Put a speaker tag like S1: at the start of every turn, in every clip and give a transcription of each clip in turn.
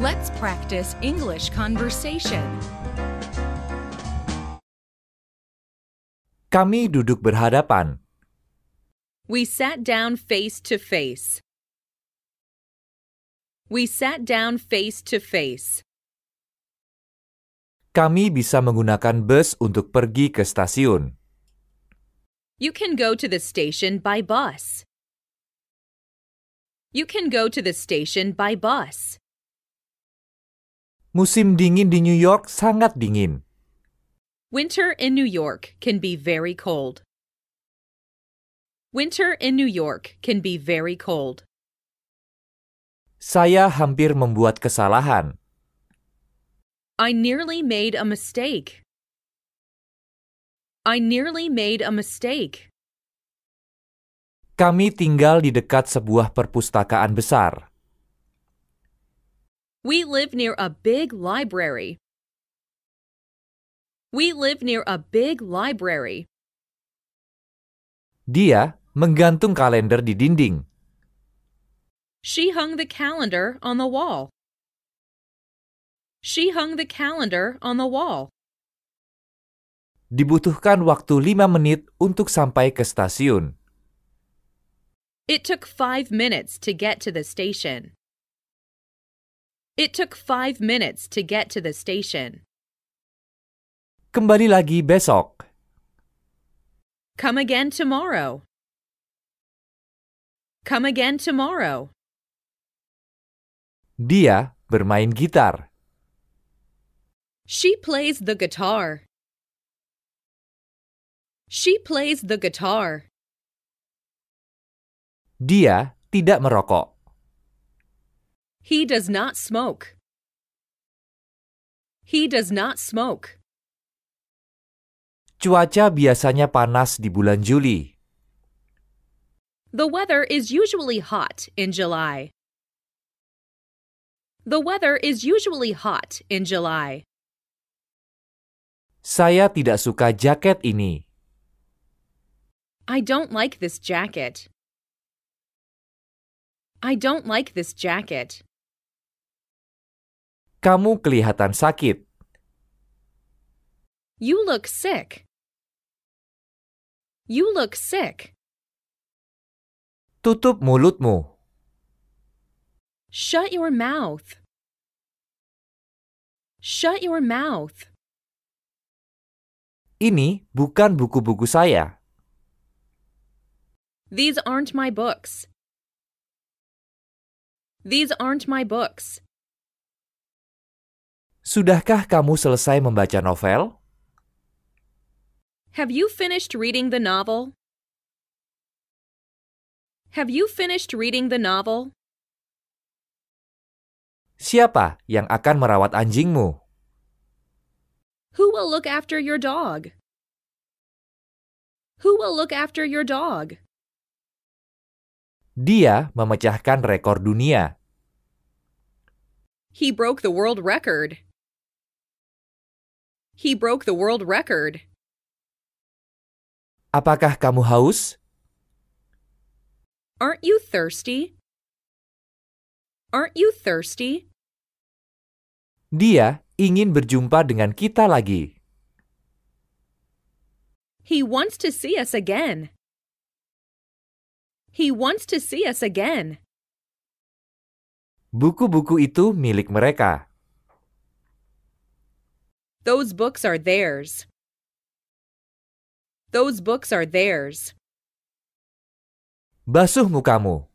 S1: Let's practice English conversation.
S2: Kami duduk berhadapan.
S1: We sat down face to face. We sat down face to face.
S2: Kami bisa menggunakan bus untuk pergi ke stasiun.
S1: You can go to the station by bus. You can go to the station by bus.
S2: Musim dingin di New York sangat dingin.
S1: Winter in New York can be very cold. Winter in New York can be very cold.
S2: Saya hampir membuat kesalahan.
S1: I nearly made a mistake. I nearly made a mistake.
S2: Kami tinggal di dekat sebuah perpustakaan besar.
S1: We live near a big library. We live near a big library.
S2: Dia menggantung kalender di dinding.
S1: She hung the calendar on the wall. She hung the calendar on the wall.
S2: Dibutuhkan waktu 5 menit untuk sampai ke stasiun.
S1: It took five minutes to get to the station. It took five minutes to get to the station.
S2: Kembali lagi besok.
S1: Come again tomorrow. Come again tomorrow.
S2: Dia bermain gitar.
S1: She plays the guitar. She plays the guitar.
S2: Dia tidak merokok.
S1: He does not smoke. He does not smoke.
S2: Cuaca biasanya panas di bulan Juli.
S1: The weather is usually hot in July. The weather is usually hot in July.
S2: Saya tidak suka jaket ini.
S1: I don't like this jacket. I don't like this jacket.
S2: Kamu kelihatan sakit.
S1: You look sick. You look sick.
S2: Tutup mulutmu.
S1: Shut your mouth. Shut your mouth.
S2: Ini bukan buku-buku saya.
S1: These aren't my books. These aren't my books.
S2: Sudahkah kamu selesai membaca novel?
S1: Have you finished reading the novel? Have you finished reading the novel?
S2: Siapa yang akan merawat anjingmu?
S1: Who will look after your dog? Who will look after your dog?
S2: Dia memecahkan rekor dunia.
S1: He broke the world record. He broke the world record.
S2: Apakah kamu haus?
S1: Aren't you thirsty? Aren't you thirsty?
S2: Dia ingin berjumpa dengan kita lagi.
S1: He wants to see us again. He wants to see us again.
S2: Buku-buku itu milik mereka.
S1: Those books are theirs. Those books are theirs.
S2: Basuh mukamu.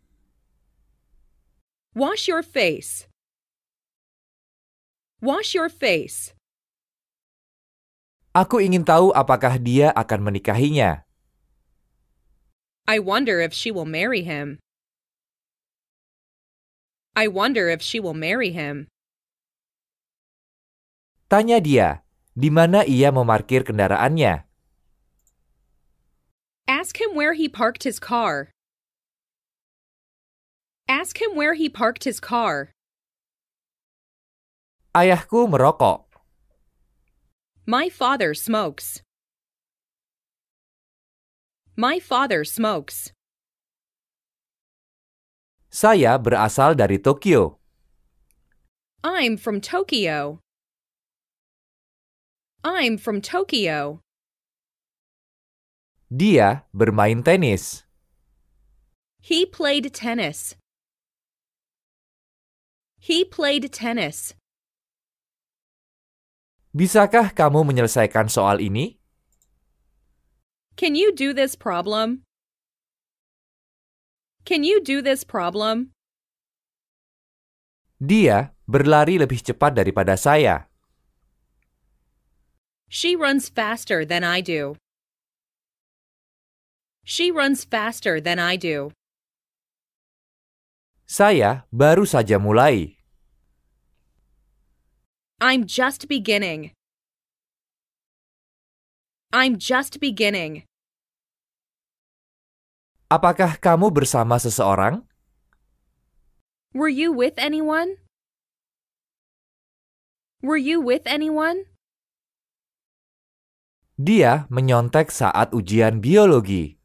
S1: Wash your face. Wash your face.
S2: Aku ingin tahu apakah dia akan menikahinya.
S1: I wonder if she will marry him. I wonder if she will marry him.
S2: Tanya dia, di mana ia memarkir kendaraannya.
S1: Ask him where he parked his car. Ask him where he parked his car.
S2: Ayahku merokok.
S1: My father smokes. My father smokes.
S2: Saya berasal dari Tokyo.
S1: I'm from Tokyo. I'm from Tokyo.
S2: Dia bermain tenis.
S1: He played tennis. He played tennis.
S2: Bisakah kamu menyelesaikan soal ini?
S1: Can you do this problem? Can you do this problem?
S2: Dia berlari lebih cepat daripada saya.
S1: She runs faster than I do. She runs faster than I do.
S2: Saya baru saja mulai.
S1: I'm just beginning. I'm just beginning.
S2: Apakah kamu bersama seseorang?
S1: Were you with anyone? Were you with anyone?
S2: Dia menyontek saat ujian biologi.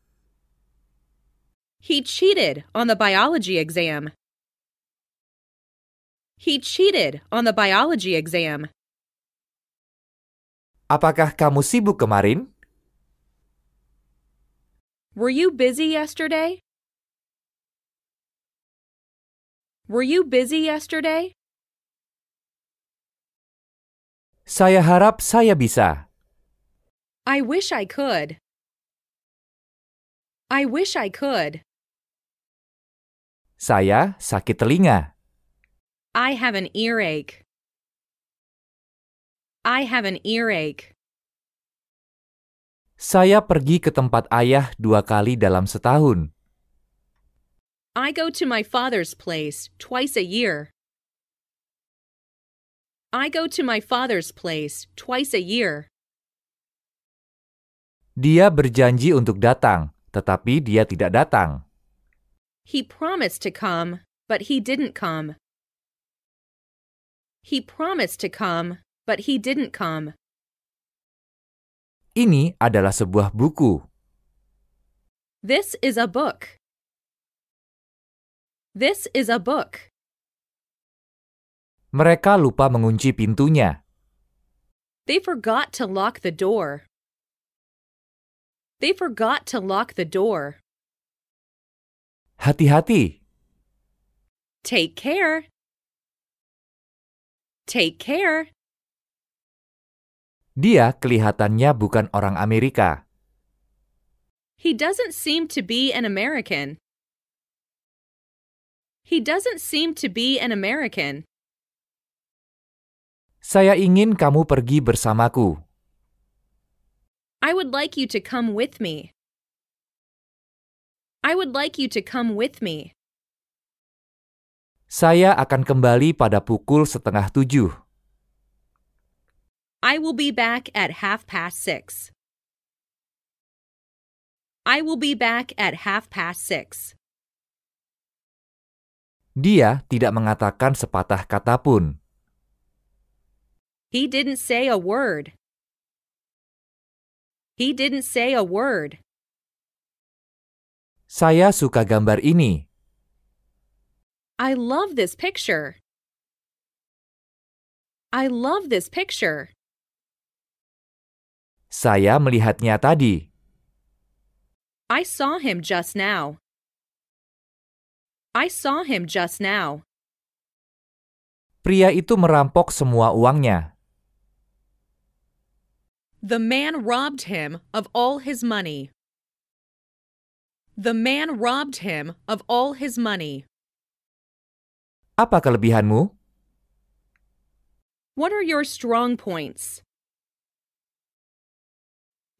S1: He cheated on the biology exam. He cheated on the biology exam.
S2: Apakah kamu sibuk kemarin?
S1: Were you busy yesterday? Were you busy yesterday?
S2: Saya harap saya bisa.
S1: I wish I could. I wish I could.
S2: Saya sakit telinga.
S1: I have an earache. I have an earache.
S2: Saya pergi ke tempat ayah dua kali dalam setahun.
S1: I go to my father's place twice a year. I go to my father's place twice a year.
S2: Dia berjanji untuk datang, tetapi dia tidak datang.
S1: He promised to come, but he didn't come. He promised to come, but he didn't come.
S2: Ini adalah sebuah buku.
S1: This is a book. This is a book.
S2: Mereka lupa mengunci pintunya.
S1: They forgot to lock the door. They forgot to lock the door.
S2: Hati-hati,
S1: Take care. Take care.
S2: dia kelihatannya bukan orang Amerika.
S1: He doesn't seem to be an American. He doesn't seem to be an American.
S2: Saya ingin kamu pergi bersamaku.
S1: I would like you to come with me. I would like you to come with me.
S2: Saya akan kembali pada pukul setengah tujuh.
S1: I will be back at half past six. I will be back at half past six.
S2: Dia tidak mengatakan sepatah kata pun.
S1: He didn't say a word. He didn't say a word.
S2: Saya suka gambar ini.
S1: I love this picture. I love this picture.
S2: Saya melihatnya tadi.
S1: I saw him just now. I saw him just now.
S2: Pria itu merampok semua uangnya.
S1: The man robbed him of all his money. The man robbed him of all his money.
S2: Apa kelebihanmu?
S1: What are your strong points?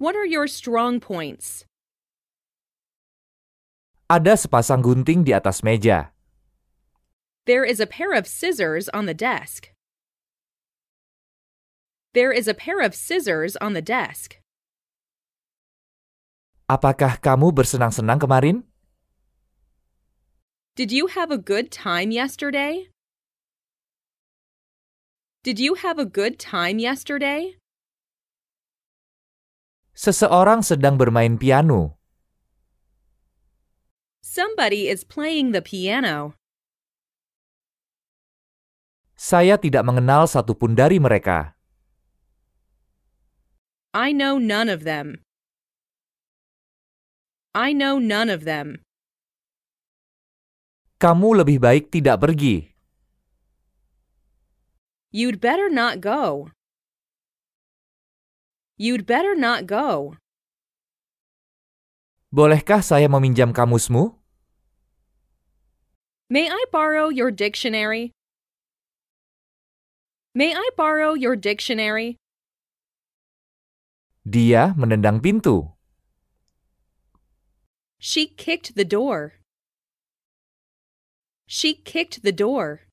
S1: What are your strong points?
S2: Ada sepasang gunting di atas meja.
S1: There is a pair of scissors on the desk. There is a pair of scissors on the desk.
S2: Apakah kamu bersenang-senang kemarin?
S1: Did you have a good time yesterday? Did you have a good time yesterday?
S2: Seseorang sedang bermain piano.
S1: Somebody is playing the piano.
S2: Saya tidak mengenal satupun dari mereka.
S1: I know none of them. I know none of them.
S2: Kamu lebih baik tidak pergi.
S1: You'd better not go. You'd better not go.
S2: Bolehkah saya meminjam kamusmu?
S1: May I borrow your dictionary? May I borrow your dictionary?
S2: Dia menendang pintu.
S1: She kicked the door. She kicked the door.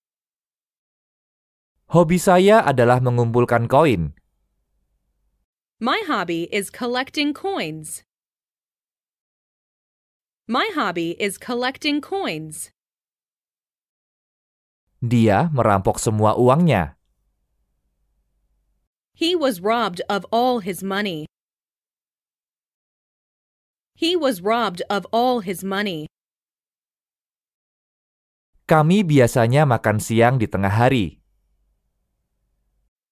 S2: Hobi saya adalah mengumpulkan koin.
S1: My hobby is collecting coins. My hobby is collecting coins.
S2: Dia merampok semua uangnya.
S1: He was robbed of all his money. He was robbed of all his money.
S2: Kami biasanya makan siang di tengah hari.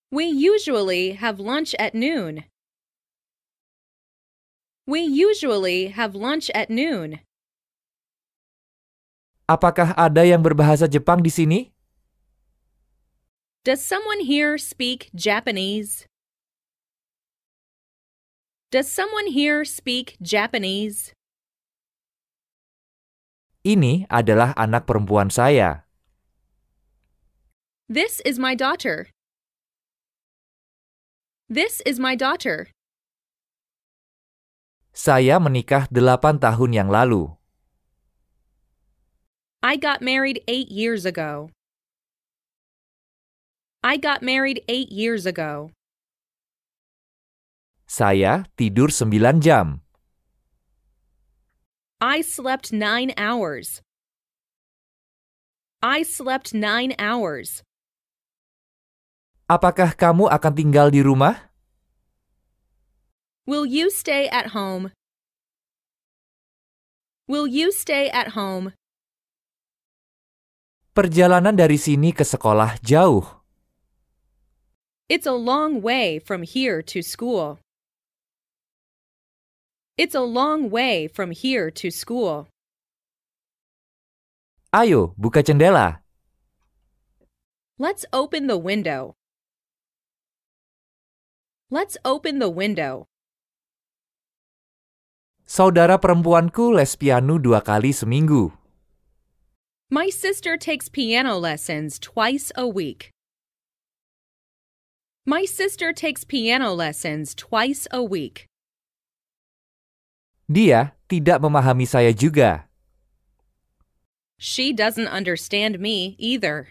S1: We usually have lunch at noon. We usually have lunch at noon.
S2: Apakah ada yang berbahasa Jepang di sini?
S1: Does someone here speak Japanese? Does someone here speak Japanese?
S2: Ini adalah anak perempuan saya.
S1: This is my daughter. This is my daughter.
S2: Saya menikah 8 tahun yang lalu.
S1: I got married eight years ago. I got married eight years ago.
S2: Saya tidur 9 jam.
S1: I slept nine hours. I slept nine hours.
S2: Apakah kamu akan tinggal di rumah?
S1: Will you stay at home? Will you stay at home?
S2: Perjalanan dari sini ke sekolah jauh.
S1: It's a long way from here to school. It's a long way from here to school.
S2: Ayo, buka jendela.
S1: Let's open the window. Let's open the window.
S2: Saudara perempuanku les piano dua kali seminggu.
S1: My sister takes piano lessons twice a week. My sister takes piano lessons twice a week.
S2: Dia tidak memahami saya juga.
S1: She doesn't understand me either.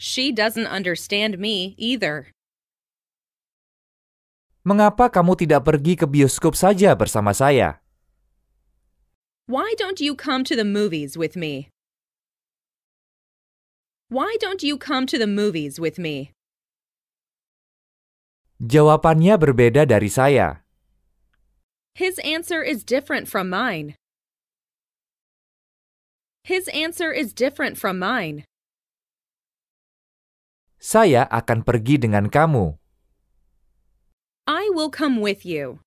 S1: She doesn't understand me either.
S2: Mengapa kamu tidak pergi ke bioskop saja bersama saya?
S1: Why don't you come to the movies with me? Why don't you come to the movies with me?
S2: Jawabannya berbeda dari saya.
S1: His answer is different from mine. His answer is different from mine.
S2: Saya akan pergi dengan kamu.
S1: I will come with you.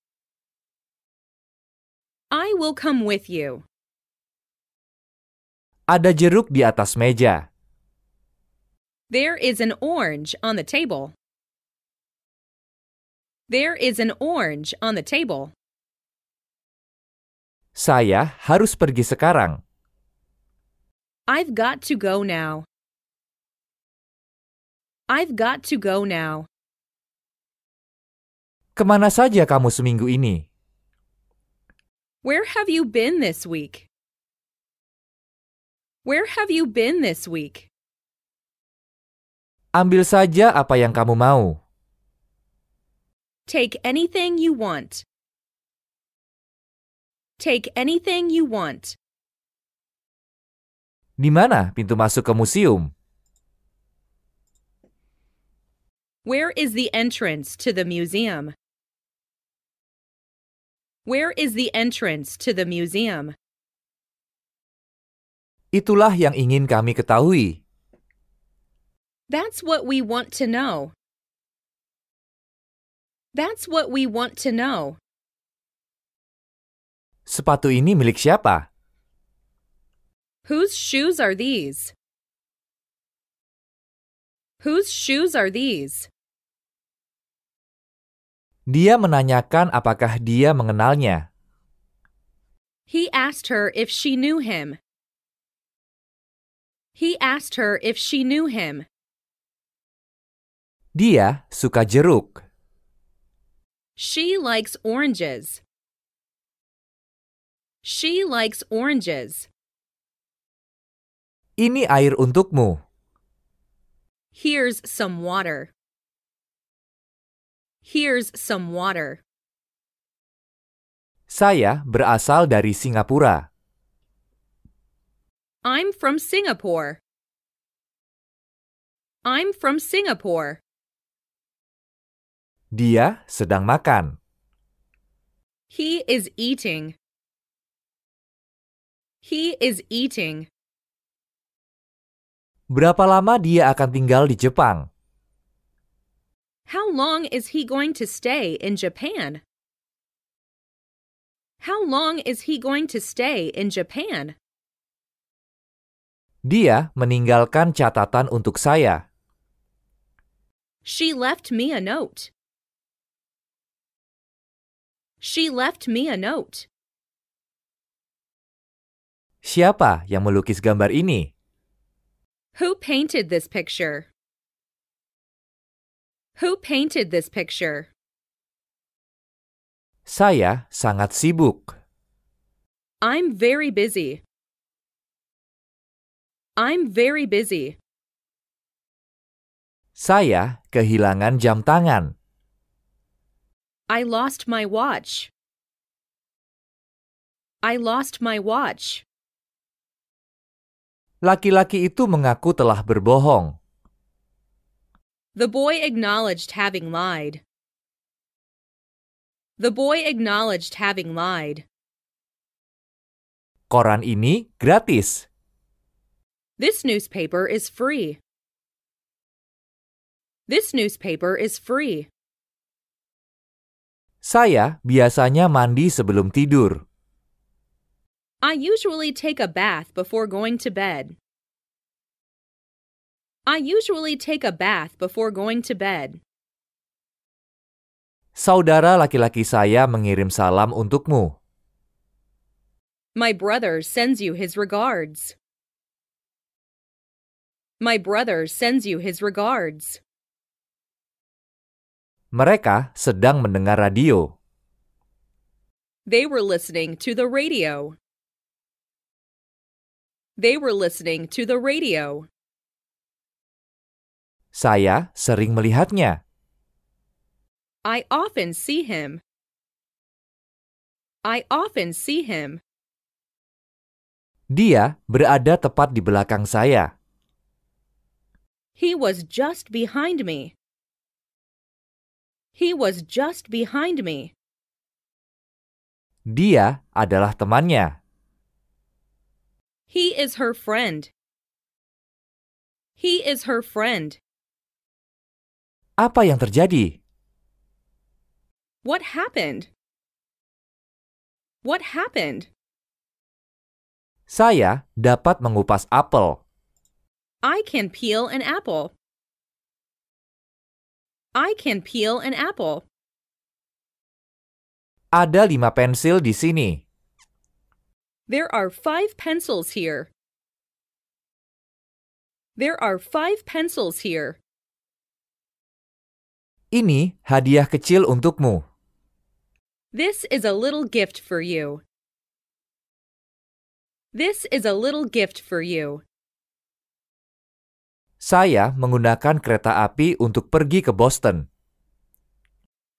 S1: I will come with you.
S2: Ada jeruk di atas meja.
S1: There is an orange on the table. There is an orange on the table.
S2: Saya harus pergi sekarang.
S1: I've got to go now. I've got to go now.
S2: Kemana saja kamu seminggu ini?
S1: Where have you been this week? Where have you been this week?
S2: Ambil saja apa yang kamu mau.
S1: Take anything you want. Take anything you want.
S2: Di mana pintu masuk ke museum?
S1: Where is the entrance to the museum? Where is the entrance to the museum?
S2: Itulah yang ingin kami ketahui.
S1: That's what we want to know. That's what we want to know.
S2: Sepatu ini milik siapa?
S1: Whose shoes are these? Whose shoes are these?
S2: Dia menanyakan apakah dia mengenalnya.
S1: He asked her if she knew him. He asked her if she knew him.
S2: Dia suka jeruk.
S1: She likes oranges. She likes oranges.
S2: Ini air untukmu.
S1: Here's some water. Here's some water.
S2: Saya berasal dari Singapura.
S1: I'm from Singapore. I'm from Singapore.
S2: Dia sedang makan.
S1: He is eating. He is eating.
S2: Berapa lama dia akan tinggal di Jepang?
S1: How long is he going to stay in Japan? How long is he going to stay in Japan?
S2: Dia meninggalkan catatan untuk saya.
S1: She left me a note. She left me a note.
S2: Siapa yang melukis gambar ini?
S1: Who painted this picture? Who painted this picture?
S2: Saya sangat sibuk.
S1: I'm very busy. I'm very busy.
S2: Saya kehilangan jam tangan.
S1: I lost my watch. I lost my watch.
S2: Laki-laki itu mengaku telah berbohong.
S1: The boy acknowledged having lied. The boy acknowledged having lied.
S2: Koran ini gratis.
S1: This newspaper is free. This newspaper is free.
S2: Saya biasanya mandi sebelum tidur.
S1: I usually take a bath before going to bed. I usually take a bath before going to bed.
S2: Saudara laki-laki saya mengirim salam untukmu.
S1: My brother sends you his regards. My brother sends you his regards.
S2: Mereka sedang mendengar radio.
S1: They were listening to the radio. They were listening to the radio.
S2: Saya sering melihatnya.
S1: I often see him. I often see him.
S2: Dia berada tepat di belakang saya.
S1: He was just behind me. He was just behind me.
S2: Dia adalah temannya.
S1: He is her friend. He is her friend.
S2: Apa yang terjadi?
S1: What happened? What happened?
S2: Saya dapat mengupas apel.
S1: I can peel an apple. I can peel an apple.
S2: Ada lima pensil di sini.
S1: There are five pencils here. There are five pencils here.
S2: Ini hadiah kecil untukmu.
S1: This is a little gift for you. This is a little gift for you.
S2: Saya menggunakan kereta api untuk pergi ke Boston.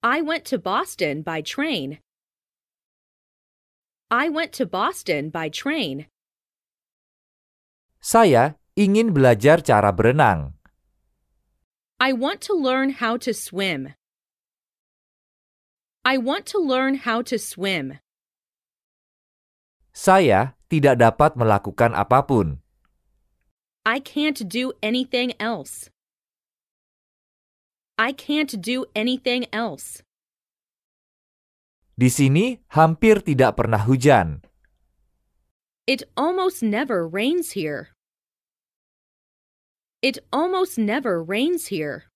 S1: I went to Boston by train. I went to Boston by train.
S2: Saya ingin belajar cara berenang.
S1: I want to learn how to swim. I want to learn how to swim.
S2: Saya tidak dapat melakukan apapun.
S1: I can't do anything else. I can't do anything else.
S2: Di sini hampir tidak pernah hujan.
S1: It almost never rains here. It almost never rains here.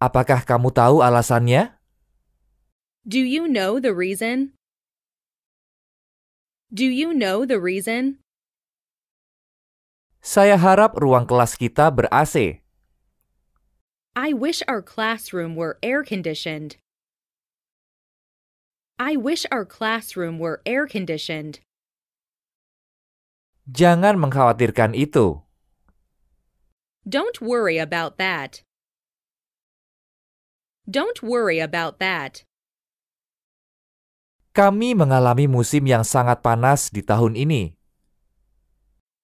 S2: Apakah kamu tahu alasannya?
S1: Do you know the reason? Do you know the reason?
S2: Saya harap ruang kelas kita ber-AC.
S1: I wish our classroom were air conditioned. I wish our classroom were air conditioned.
S2: Jangan mengkhawatirkan itu.
S1: Don't worry about that. Don't worry about that.
S2: Kami mengalami musim yang sangat panas di tahun ini.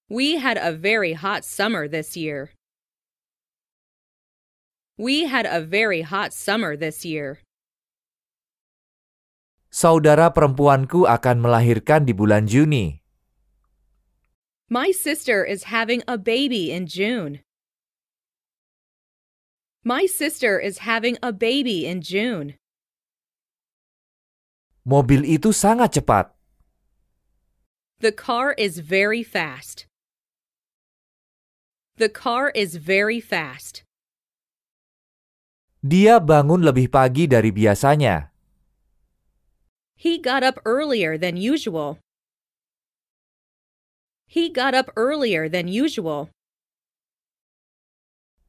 S1: We had a very hot summer this year. We had a very hot summer this year.
S2: Saudara perempuanku akan melahirkan di bulan Juni.
S1: My sister is having a baby in June. My sister is having a baby in June.
S2: Mobil itu sangat cepat.
S1: The car is very fast. The car is very fast.
S2: Dia bangun lebih pagi dari biasanya.
S1: He got up earlier than usual. He got up earlier than usual.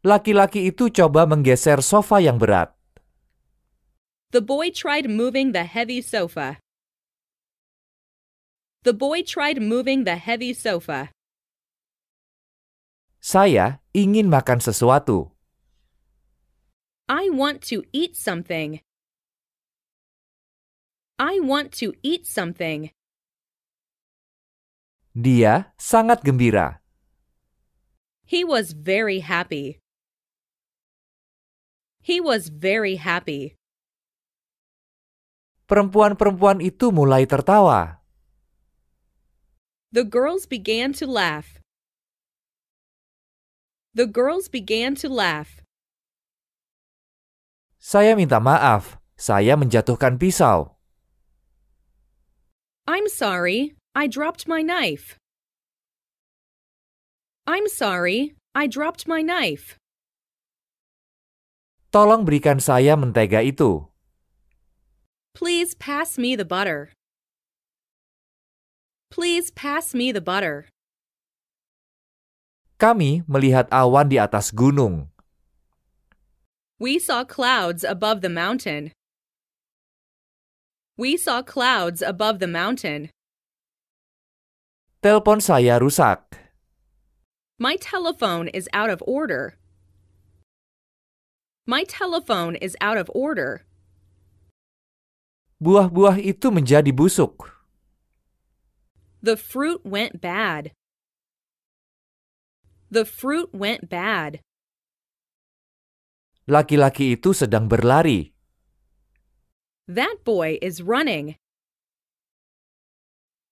S2: Laki-laki itu coba menggeser sofa yang berat.
S1: The boy tried moving the heavy sofa. The boy tried moving the heavy sofa.
S2: Saya ingin makan sesuatu.
S1: I want to eat something. I want to eat something.
S2: Dia sangat gembira.
S1: He was very happy. He was very happy.
S2: Perempuan-perempuan itu mulai tertawa.
S1: The girls began to laugh. The girls began to laugh.
S2: Saya minta maaf, saya menjatuhkan pisau.
S1: I'm sorry, I dropped my knife. I'm sorry, I dropped my knife.
S2: Tolong berikan saya mentega itu.
S1: Please pass me the butter. Please pass me the butter.
S2: Kami melihat awan di atas gunung.
S1: We saw clouds above the mountain. We saw clouds above the mountain.
S2: Telepon saya rusak.
S1: My telephone is out of order. My telephone is out of order.
S2: Buah-buah itu menjadi busuk.
S1: The fruit went bad. The fruit went bad.
S2: Laki-laki itu sedang berlari.
S1: That boy is running.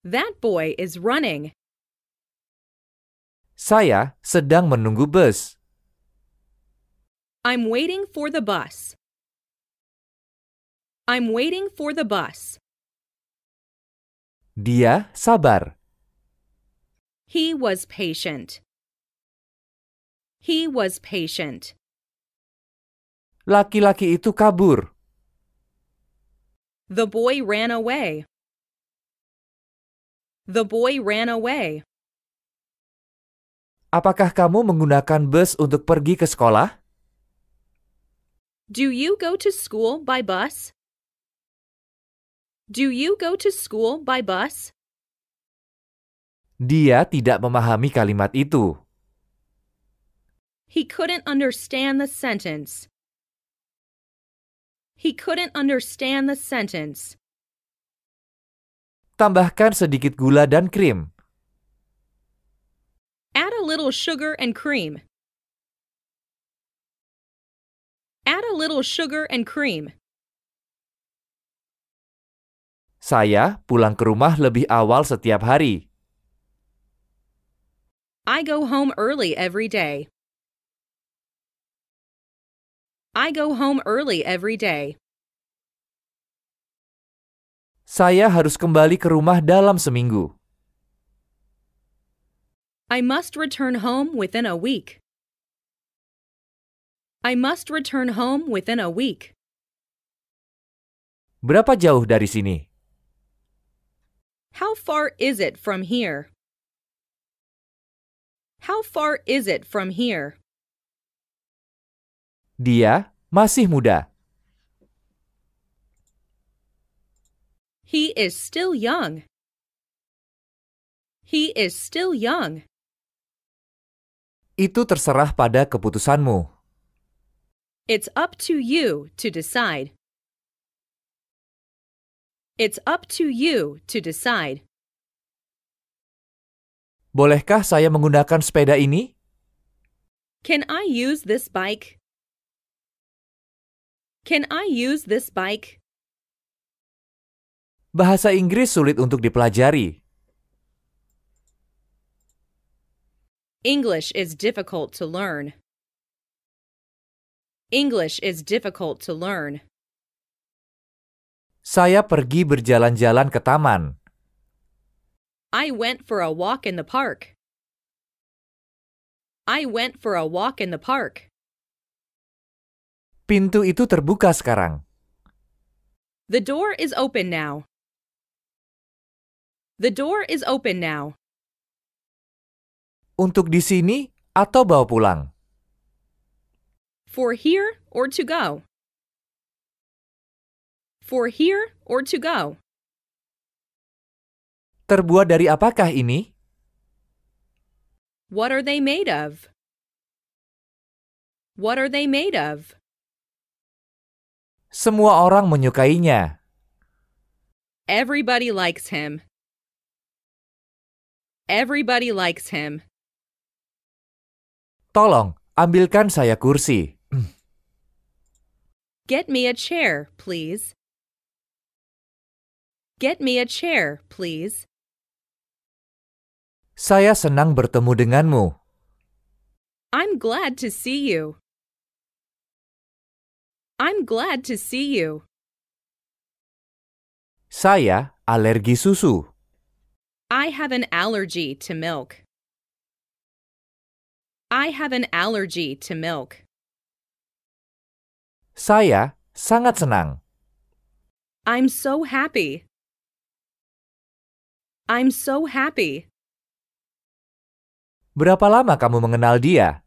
S1: That boy is running.
S2: Saya sedang menunggu bus.
S1: I'm waiting for the bus. I'm waiting for the bus.
S2: Dia sabar.
S1: He was patient. He was patient.
S2: Laki-laki itu kabur.
S1: The boy ran away. The boy ran away.
S2: Apakah kamu menggunakan bus untuk pergi ke sekolah?
S1: Do you go to school by bus? Do you go to school by bus?
S2: Dia tidak memahami kalimat itu.
S1: He couldn't understand the sentence. He couldn't understand the sentence.
S2: Tambahkan sedikit gula dan krim.
S1: Add a little sugar and cream. Add a little sugar and cream.
S2: Saya pulang ke rumah lebih awal setiap hari.
S1: I go home early every day. I go home early every day.
S2: Saya harus kembali ke rumah dalam seminggu.
S1: I must return home within a week. I must return home within a week.
S2: Berapa jauh dari sini?
S1: How far is it from here? How far is it from here?
S2: Dia masih muda.
S1: He is still young. He is still young.
S2: Itu terserah pada keputusanmu.
S1: It's up to you to decide. It's up to you to decide.
S2: Bolehkah saya menggunakan sepeda ini?
S1: Can I use this bike? Can I use this bike?
S2: Bahasa Inggris sulit untuk dipelajari.
S1: English is difficult to learn. English is difficult to learn.
S2: Saya pergi berjalan-jalan ke taman.
S1: I went for a walk in the park. I went for a walk in the park.
S2: Pintu itu terbuka sekarang.
S1: The door is open now. The door is open now.
S2: Untuk di sini atau bawa pulang?
S1: For here or to go? For here or to go?
S2: Terbuat dari apakah ini?
S1: What are they made of? What are they made of?
S2: Semua orang menyukainya.
S1: Everybody likes him. Everybody likes him.
S2: Tolong, ambilkan saya kursi.
S1: Get me a chair, please. Get me a chair, please.
S2: Saya senang bertemu denganmu.
S1: I'm glad to see you. I'm glad to see you.
S2: Saya alergi susu.
S1: I have an allergy to milk. I have an allergy to milk.
S2: Saya sangat senang.
S1: I'm so happy. I'm so happy.
S2: Berapa lama kamu mengenal dia?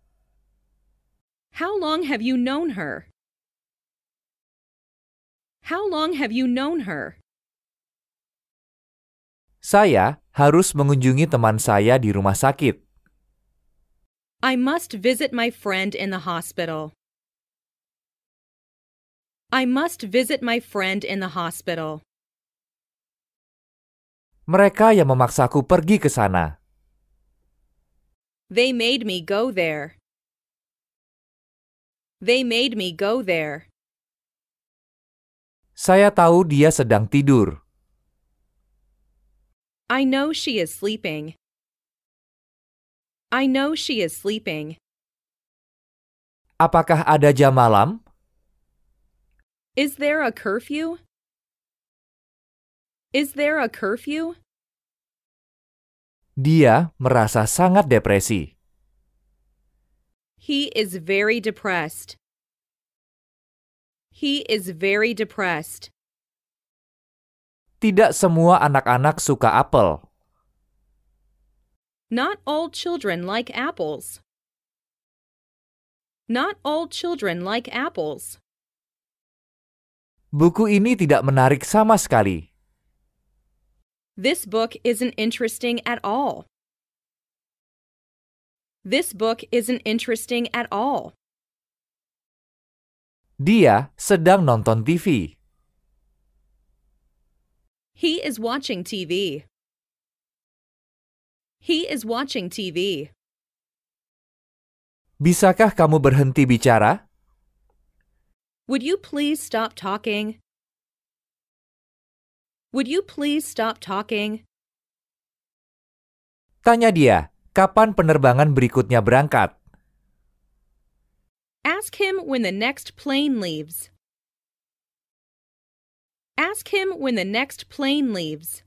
S1: How long have you known her? How long have you known her?
S2: Saya harus mengunjungi teman saya di rumah sakit.
S1: I must visit my friend in the hospital. I must visit my friend in the hospital.
S2: Mereka yang memaksaku pergi ke sana.
S1: They made me go there. They made me go there.
S2: Saya tahu dia sedang tidur.
S1: I know she is sleeping. I know she is sleeping.
S2: Apakah ada jam malam?
S1: Is there a curfew? Is there a curfew?
S2: Dia merasa sangat depresi.
S1: He is very depressed. He is very depressed.
S2: Tidak semua anak-anak suka apel.
S1: Not all children like apples. Not all children like apples.
S2: Buku ini tidak menarik sama sekali.
S1: This book isn't interesting at all. This book isn't interesting at all.
S2: Dia sedang nonton TV.
S1: He is watching TV. He is watching TV.
S2: Bisakah kamu berhenti bicara?
S1: Would you please stop talking? Would you please stop talking?
S2: Tanya dia, kapan penerbangan berikutnya berangkat?
S1: Ask him when the next plane leaves. Ask him when the next plane leaves.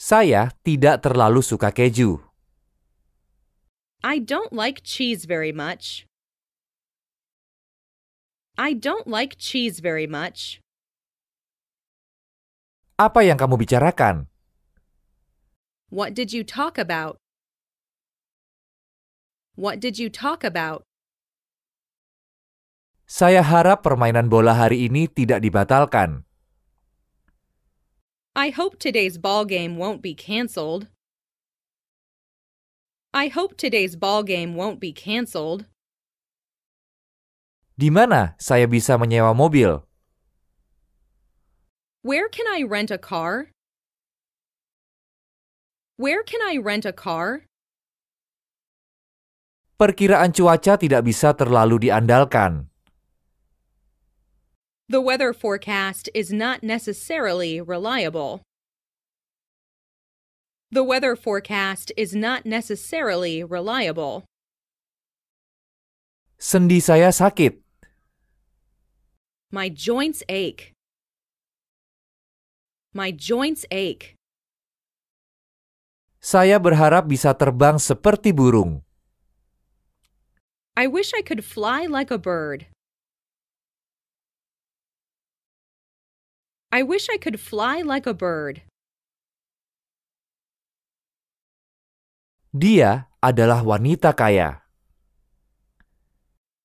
S2: Saya tidak terlalu suka keju.
S1: I don't like cheese very much. I don't like cheese very much.
S2: Apa yang kamu bicarakan?
S1: What did you talk about? What did you talk about?
S2: Saya harap permainan bola hari ini tidak dibatalkan.
S1: I hope today's ball game won't be canceled. I hope today's ball game won't be canceled.
S2: Di mana saya bisa menyewa mobil?
S1: Where can I rent a car? Where can I rent a car?
S2: Perkiraan cuaca tidak bisa terlalu diandalkan.
S1: The weather forecast is not necessarily reliable. The weather forecast is not necessarily reliable.
S2: Sendi saya sakit.
S1: My joints ache. My joints ache.
S2: Saya berharap bisa terbang seperti burung.
S1: I wish I could fly like a bird. I wish I could fly like a bird.
S2: Dia adalah wanita kaya.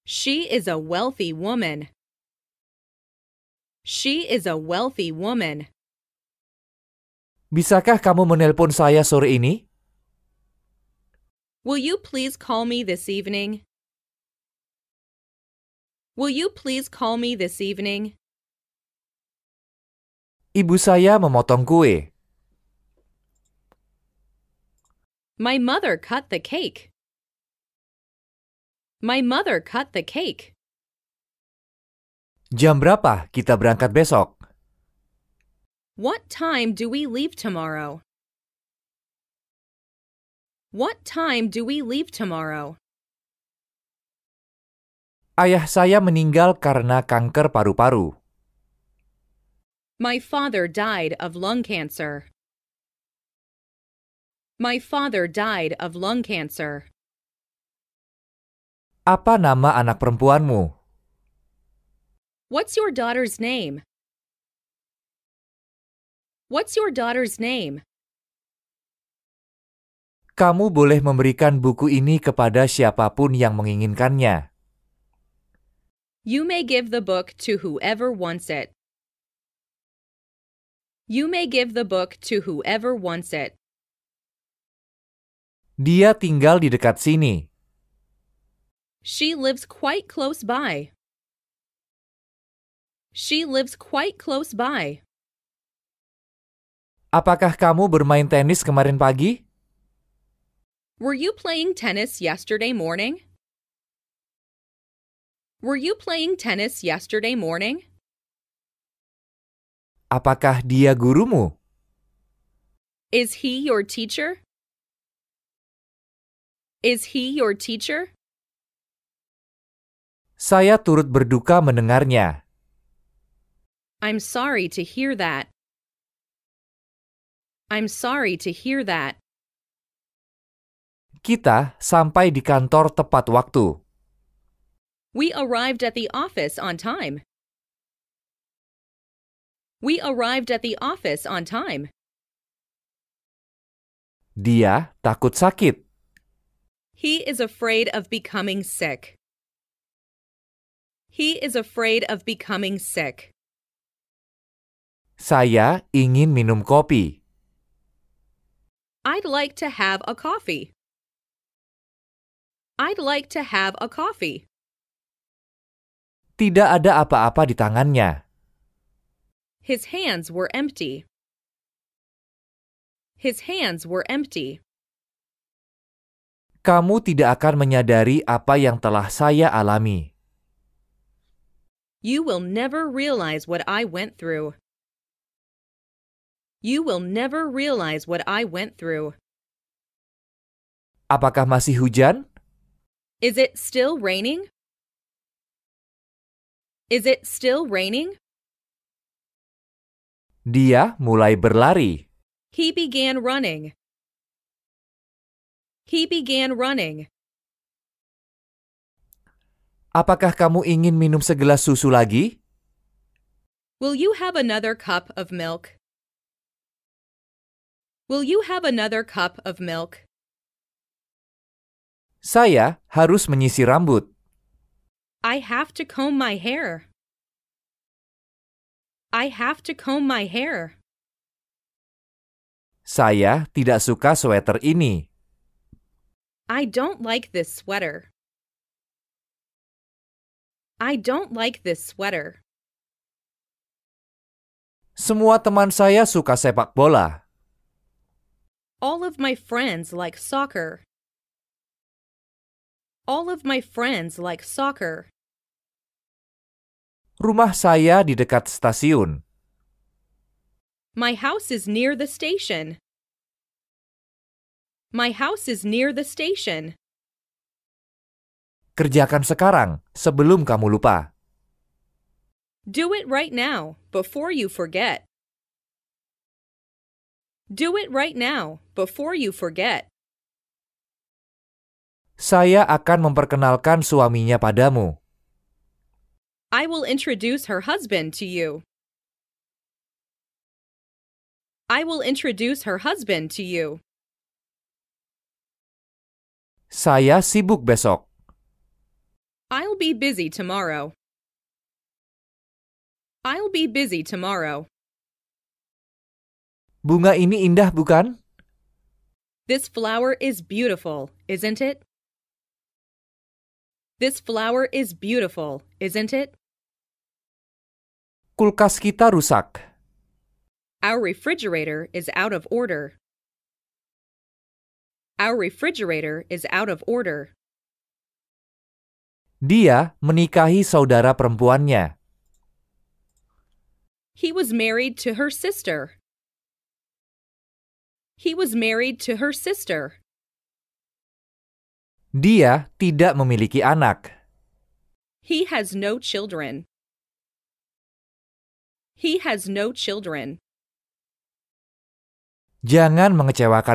S1: She is a wealthy woman. She is a wealthy woman.
S2: Bisakah kamu menelpon saya sore ini?
S1: Will you please call me this evening? Will you please call me this evening?
S2: Ibu saya memotong kue.
S1: My mother cut the cake. My mother cut the cake.
S2: Jam berapa kita berangkat besok?
S1: What time do we leave tomorrow? What time do we leave tomorrow?
S2: Ayah saya meninggal karena kanker paru-paru.
S1: My father died of lung cancer. My father died of lung cancer.
S2: Apa nama anak perempuanmu?
S1: What's your daughter's name? What's your daughter's name?
S2: Kamu boleh memberikan buku ini kepada siapapun yang menginginkannya.
S1: You may give the book to whoever wants it. You may give the book to whoever wants it.
S2: Dia tinggal di dekat sini.
S1: She lives quite close by. She lives quite close by.
S2: Apakah kamu bermain tenis kemarin pagi?
S1: Were you playing tennis yesterday morning? Were you playing tennis yesterday morning?
S2: Apakah dia gurumu?
S1: Is he your teacher? Is he your teacher?
S2: Saya turut berduka mendengarnya.
S1: I'm sorry to hear that. I'm sorry to hear that.
S2: Kita sampai di kantor tepat waktu.
S1: We arrived at the office on time. We arrived at the office on time.
S2: Dia takut sakit.
S1: He is afraid of becoming sick. He is afraid of becoming sick.
S2: Saya ingin minum kopi.
S1: I'd like to have a coffee. I'd like to have a coffee.
S2: Tidak ada apa-apa di tangannya.
S1: His hands were empty. His hands were empty.
S2: Kamu tidak akan menyadari apa yang telah saya alami.
S1: You will never realize what I went through. You will never realize what I went through.
S2: Apakah masih hujan?
S1: Is it still raining? Is it still raining?
S2: Dia mulai berlari.
S1: He began running. He began running.
S2: Apakah kamu ingin minum segelas susu lagi?
S1: Will you have another cup of milk? Will you have another cup of milk?
S2: Saya harus menyisir rambut.
S1: I have to comb my hair. I have to comb my hair.
S2: Saya tidak suka sweater ini.
S1: I don't like this sweater. I don't like this sweater.
S2: Semua teman saya suka sepak bola.
S1: All of my friends like soccer. All of my friends like soccer.
S2: Rumah saya di dekat stasiun.
S1: My house is near the station. My house is near the station.
S2: Kerjakan sekarang sebelum kamu lupa.
S1: Do it right now before you forget. Do it right now before you forget.
S2: Saya akan memperkenalkan suaminya padamu.
S1: I will introduce her husband to you. I will introduce her husband to you.
S2: Saya sibuk besok.
S1: I'll be busy tomorrow. I'll be busy tomorrow.
S2: Bunga ini indah, bukan?
S1: This flower is beautiful, isn't it? This flower is beautiful, isn't it?
S2: Kulkas kita rusak.
S1: Our refrigerator is out of order. Our refrigerator is out of order.
S2: Dia menikahi saudara perempuannya.
S1: He was married to her sister. He was married to her sister.
S2: Dia tidak memiliki anak.
S1: He has no children. He has no children.
S2: Jangan mengecewakan